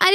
er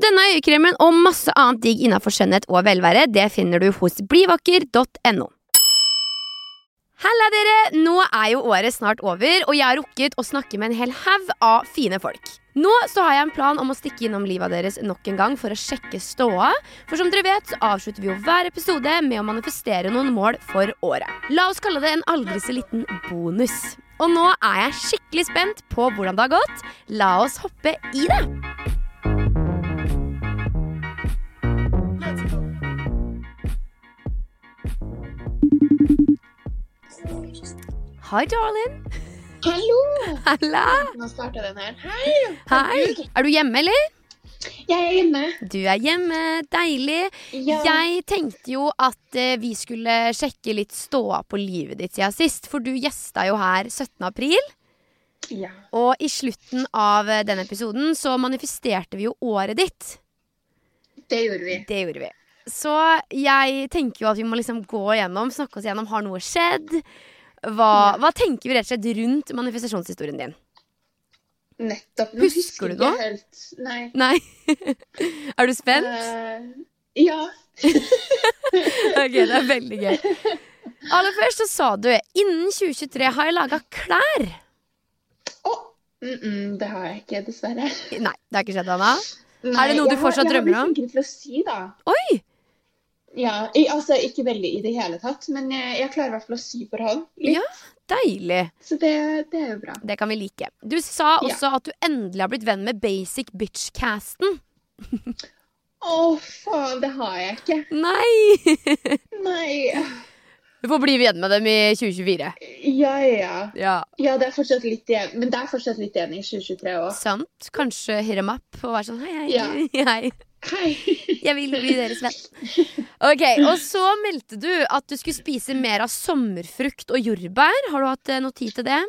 Denne øyekremen og masse annet digg innafor skjønnhet og velvære det finner du hos blivakker.no. Halla, dere! Nå er jo året snart over, og jeg har rukket å snakke med en hel haug av fine folk. Nå så har jeg en plan om å stikke innom livet deres nok en gang for å sjekke ståa. For som dere vet, så avslutter vi jo hver episode med å manifestere noen mål for året. La oss kalle det en aldri så liten bonus. Og nå er jeg skikkelig spent på hvordan det har gått. La oss hoppe i det! Hi, darling. Hallo! Halla. Nå starta den her. Hei! Hei. Er du hjemme, eller? Jeg er hjemme. Du er hjemme. Deilig. Ja. Jeg tenkte jo at eh, vi skulle sjekke litt ståa på livet ditt siden sist, for du gjesta jo her 17. april. ja. Og i slutten av eh, den episoden så manifesterte vi jo året ditt. Det gjorde vi. Det gjorde vi. Så jeg tenker jo at vi må liksom gå igjennom, snakke oss igjennom. Har noe skjedd? Hva, hva tenker vi rett og slett rundt manifestasjonshistorien din? Nettopp. Nå Husker du jeg noe? ikke Helt. Nei. Nei? er du spent? Eh, ja. Ok, det er veldig gøy. Aller først så sa du innen 2023 har jeg laga klær. Å! Mm -mm, det har jeg ikke, dessverre. Nei, det har ikke skjedd, Anna. Nei, det noe du jeg har- fortsatt drømmer om? Jeg har blitt flinkere til å si, da. Oi! Ja, i, altså Ikke veldig i det hele tatt, men jeg, jeg klarer i hvert fall å sy for hånd. litt, Ja. Deilig. Så det, det er jo bra. Det kan vi like. Du sa også at du endelig har blitt venn med basic bitch-casten. Å, faen, det har jeg ikke. Nei! Nei. Du får bli venn med dem i 2024. Ja, ja. Ja, Ja, det er fortsatt litt igjen. Men det er fortsatt litt igjen i 2023 òg. sant? Kanskje hit dem up og være sånn hei, hei, hei. Hei! Jeg vil bli deres venn. Ok, Og så meldte du at du skulle spise mer av sommerfrukt og jordbær. Har du hatt eh, noe tid til det?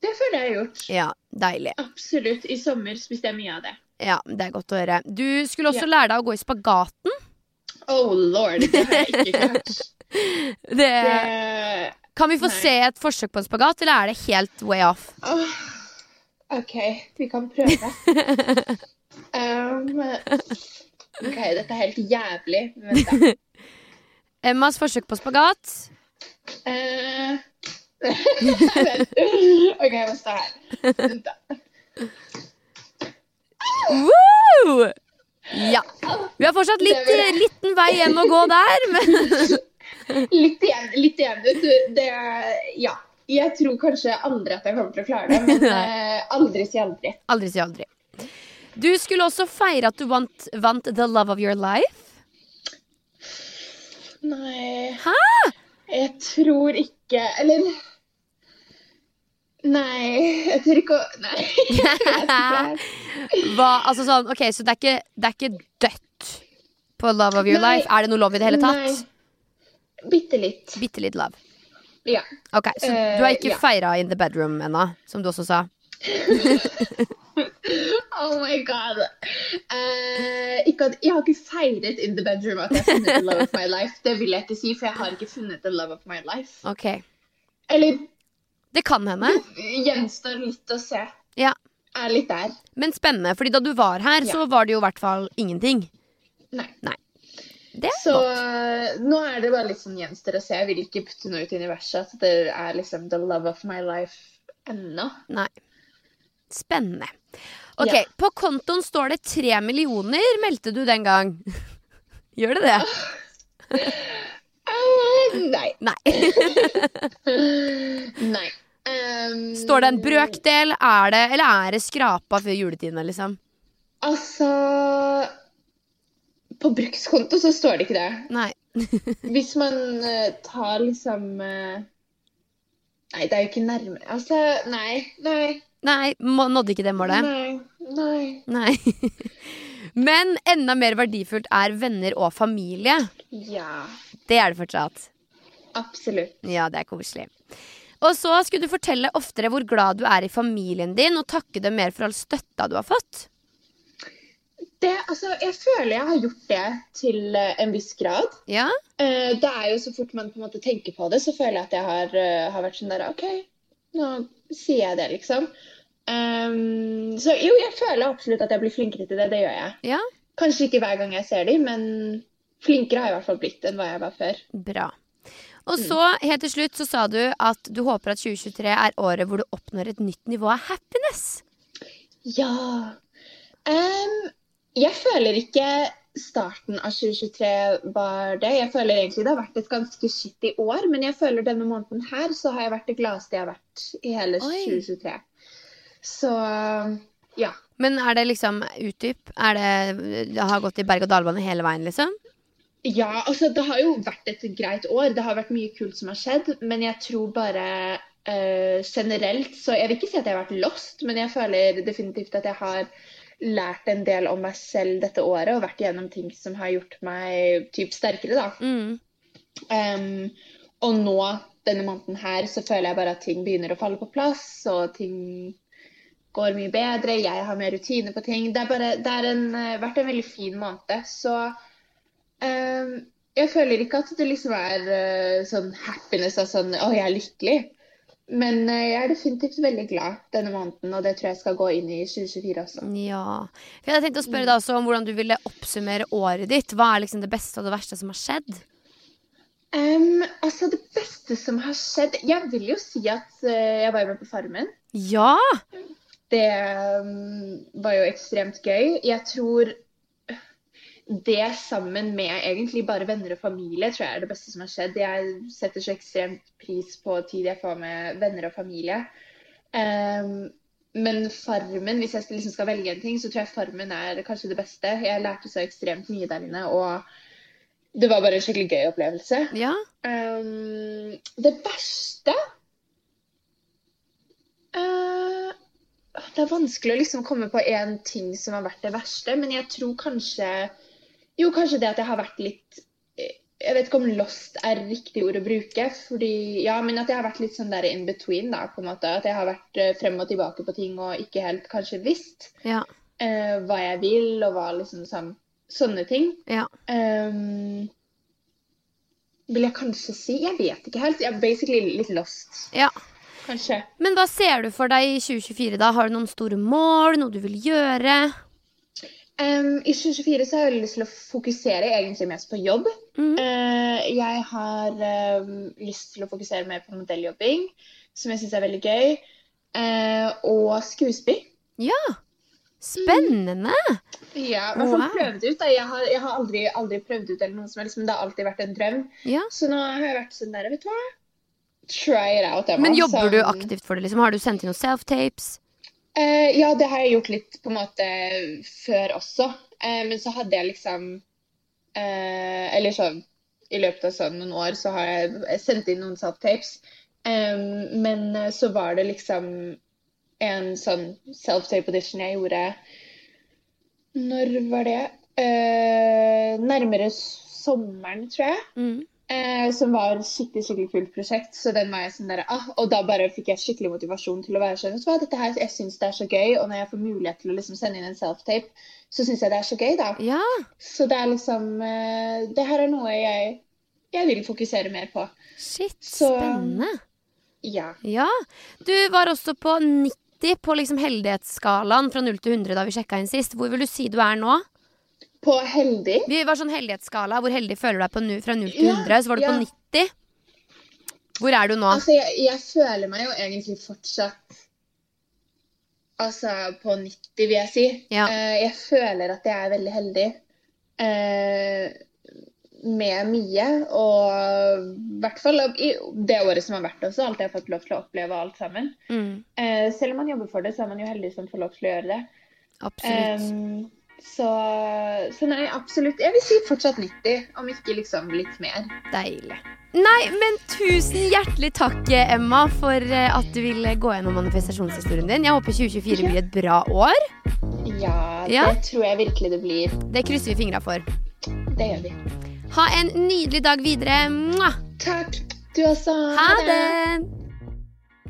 Det føler jeg har gjort. Ja, deilig. Absolutt. I sommer spiste jeg mye av det. Ja, det er godt å høre. Du skulle også lære deg å gå i spagaten. Oh lord, det har jeg ikke klart. Det... Det- Kan vi få Nei. se et forsøk på en spagat, eller er det helt way off? Åh, OK, vi kan prøve. Um, OK, dette er helt jævlig. men Vent, da. Emmas forsøk på spagat. Eh, vent. OK, hva står her? Vent, da. Woo! Ja. Vi har fortsatt litt, Det er liten vei hjem å gå der, men Litt igjen, litt igjen vet du. Det er- Ja. Jeg tror kanskje aldri at jeg kommer til å klare det, men eh, aldri si aldri. aldri si aldri. Du skulle også feire at du vant, vant The Love of Your Life. Nei Hæ? Jeg tror ikke Eller Nei, jeg tør ikke å Nei. Hva, altså sånn, ok, Så det er ikke, det er ikke dødt på Love of Your Nei. Life? Er det noe love i det hele tatt? Bitte litt. Bitte litt love. Ja. Ok, Så Eh, du har ikke ja. feira in the bedroom ennå, som du også sa? Oh my god. Eh, ikke at, jeg har ikke feiret in the bedroom at jeg har funnet the love of my life. Det vil jeg ikke si, for jeg har ikke funnet the love of my life. Ok, Eller Det kan hende. Mm. gjenstår litt å se. Ja. Er litt der. Men spennende, fordi da du var her, så var det jo i hvert fall ingenting. Nei. Det er Så godt. eh, nå er det bare litt sånn gjenstår å se. Jeg vil ikke putte noe ut i universet at det er liksom the love of my life ennå. Nei. Spennende. Ok, Ja. På kontoen står det tre millioner, meldte du den gang. Gjør det det? Eh, nei. Nei. Nei. Ehm, Står det en brøkdel, er det, eller er det skrapa før juletidene, liksom? Altså På brukskonto så står det ikke det. Nei. Hvis man eh, tar liksom eh, Nei, det er jo ikke nærmere Altså, nei, nei, Nei, må, nådde ikke det målet? nei, nei. Nei. Men enda mer verdifullt er venner og familie. Ja, Det er det fortsatt. absolutt. Ja, det er koselig. Og så skulle du fortelle oftere hvor glad du er i familien din, og takke dem mer for all støtta du har fått. Det, altså, jeg føler jeg har gjort det til eh, en viss grad. Ja, Eh, det er jo så fort man på en måte tenker på det, så føler jeg at jeg har, eh, har vært sånn der OK, nå sier jeg det, liksom. Ehm, så jo, jeg føler absolutt at jeg blir flinkere til det. Det gjør jeg. Ja. Kanskje ikke hver gang jeg ser dem, men flinkere har jeg i hvert fall blitt enn hva jeg var før. bra. Og så, helt til slutt, så sa du at du håper at 2023 er året hvor du oppnår et nytt nivå av happiness. Ja. Em, jeg føler ikke starten av 2023 var det. Jeg føler egentlig det har vært et ganske skittig år, men jeg føler denne måneden her så har jeg vært det gladeste jeg har vært i hele Oi. 2023. Så ja. Men er det liksom utdyp? Er det, det har gått i berg-og-dal-bane hele veien, liksom? Ja, altså det har jo vært et greit år. Det har vært mye kult som har skjedd, men jeg tror bare eh, generelt så Jeg vil ikke si at jeg har vært lost, men jeg føler definitivt at jeg har lært en del om meg selv dette året og vært igjennom ting som har gjort meg typ sterkere, da. Mm. Em, og nå, denne måneden her, så føler jeg bare at ting begynner å falle på plass, og ting går mye bedre, jeg har mer rutine på ting. Det, er bare, det har vært en veldig fin måned, så em, jeg føler ikke at det liksom er eh, sånn happiness og sånn å, jeg er lykkelig. Men eh, jeg er definitivt veldig glad denne måneden, og det tror jeg skal gå inn i 2024 også. Ja. For jeg hadde tenkt å spørre deg også om hvordan du ville oppsummere året ditt. Hva er liksom det beste og det verste som har skjedd? Em, altså, det beste som har skjedd Jeg vil jo si at eh, jeg var jo med på Farmen. Ja! Det um, var jo ekstremt gøy. Jeg tror det sammen med egentlig bare venner og familie tror jeg er det beste som har skjedd. Jeg setter så ekstremt pris på tid jeg får med venner og familie. Um, men Farmen, hvis jeg liksom skal velge en ting, så tror jeg Farmen er kanskje det beste. Jeg lærte så ekstremt mye der inne, og det var bare en skikkelig gøy opplevelse. Ja. Ehm, det verste Eh, Det er vanskelig å liksom komme på én ting som har vært det verste, men jeg tror kanskje Jo, kanskje det at jeg har vært litt eh, Jeg vet ikke om lost er riktig ord å bruke, fordi Ja, men at jeg har vært litt sånn der in between, da, på en måte. At jeg har vært eh, frem og tilbake på ting og ikke helt kanskje visst Ja. eh, hva jeg vil, og hva liksom sånn Sånne ting. ja. Ehm, vil jeg kanskje si? Jeg vet ikke helt. Jeg er basically litt lost, ja. kanskje. Men hva ser du for deg i 2024, da? Har du noen store mål? Noe du vil gjøre? Ehm, I 2024 så har jeg lyst til å fokusere egentlig mest på jobb. Mhm. Eh, jeg har ehm, lyst til å fokusere mer på modelljobbing, som jeg syns er veldig gøy. Eh, og skuespill. Ja! Spennende! Ja, i hvert fall Wow. prøvd ut. Da. Jeg har, jeg har aldri, aldri prøvd ut eller noe som helst, men det har alltid vært en drøm. Ja. Så nå har jeg vært sånn der, vet du hva. Try it out, Emma. Men jobber du Sånn- aktivt for det? liksom? Har du sendt inn noen self-tapes? Eh, ja, det har jeg gjort litt på en måte før også. Eh, men så hadde jeg liksom eh, Eller sånn I løpet av sånn noen år så har jeg sendt inn noen self-tapes. Eh, men eh, så var det liksom en sånn self-tape audition jeg gjorde Når var det? Eh, nærmere sommeren, tror jeg. Mm. Eh, som var et skikkelig skikkelig kult prosjekt. Så den var jeg sånn der, ah, Og da bare fikk jeg skikkelig motivasjon til å være sånn. Vet du hva, dette her, Jeg syns det er så gøy, og når jeg får mulighet til å liksom sende inn en self-tape, så syns jeg det er så gøy, da. Ja. Så det er liksom eh, Det her er noe jeg, jeg vil fokusere mer på. Shit, Så- spennende. Ja. Ja. Du var også på 90 på liksom heldighetsskalaen fra 0 til 100 da vi sjekka inn sist. Hvor vil du si du er nå? På heldig Vi var sånn heldighetsskala. Hvor heldig føler du deg på nu, fra 0 til Ja, 100? Så var du ja. på 90. Hvor er du nå? Altså, jeg, jeg føler meg jo egentlig fortsatt Altså på 90, vil jeg si. Ja. Eh, jeg føler at jeg er veldig heldig. Eh, med mye. Og i hvert fall i det året som har vært også, alt jeg har fått lov til å oppleve alt sammen. Mm, Eh, selv om man jobber for det, så er man jo heldig som får lov til å gjøre det. absolutt. Em, så, så nei, absolutt. Jeg vil si fortsatt 90, om ikke liksom litt mer. Deilig. Nei, men tusen hjertelig takk, Emma, for eh, at du ville gå gjennom manifestasjonshistorien din. Jeg håper 2024 blir et bra år. Ja, det Ja. tror jeg virkelig det blir. Det krysser vi fingra for. Det gjør vi. Ha en nydelig dag videre. Mwah! Takk. Du også. Ha det!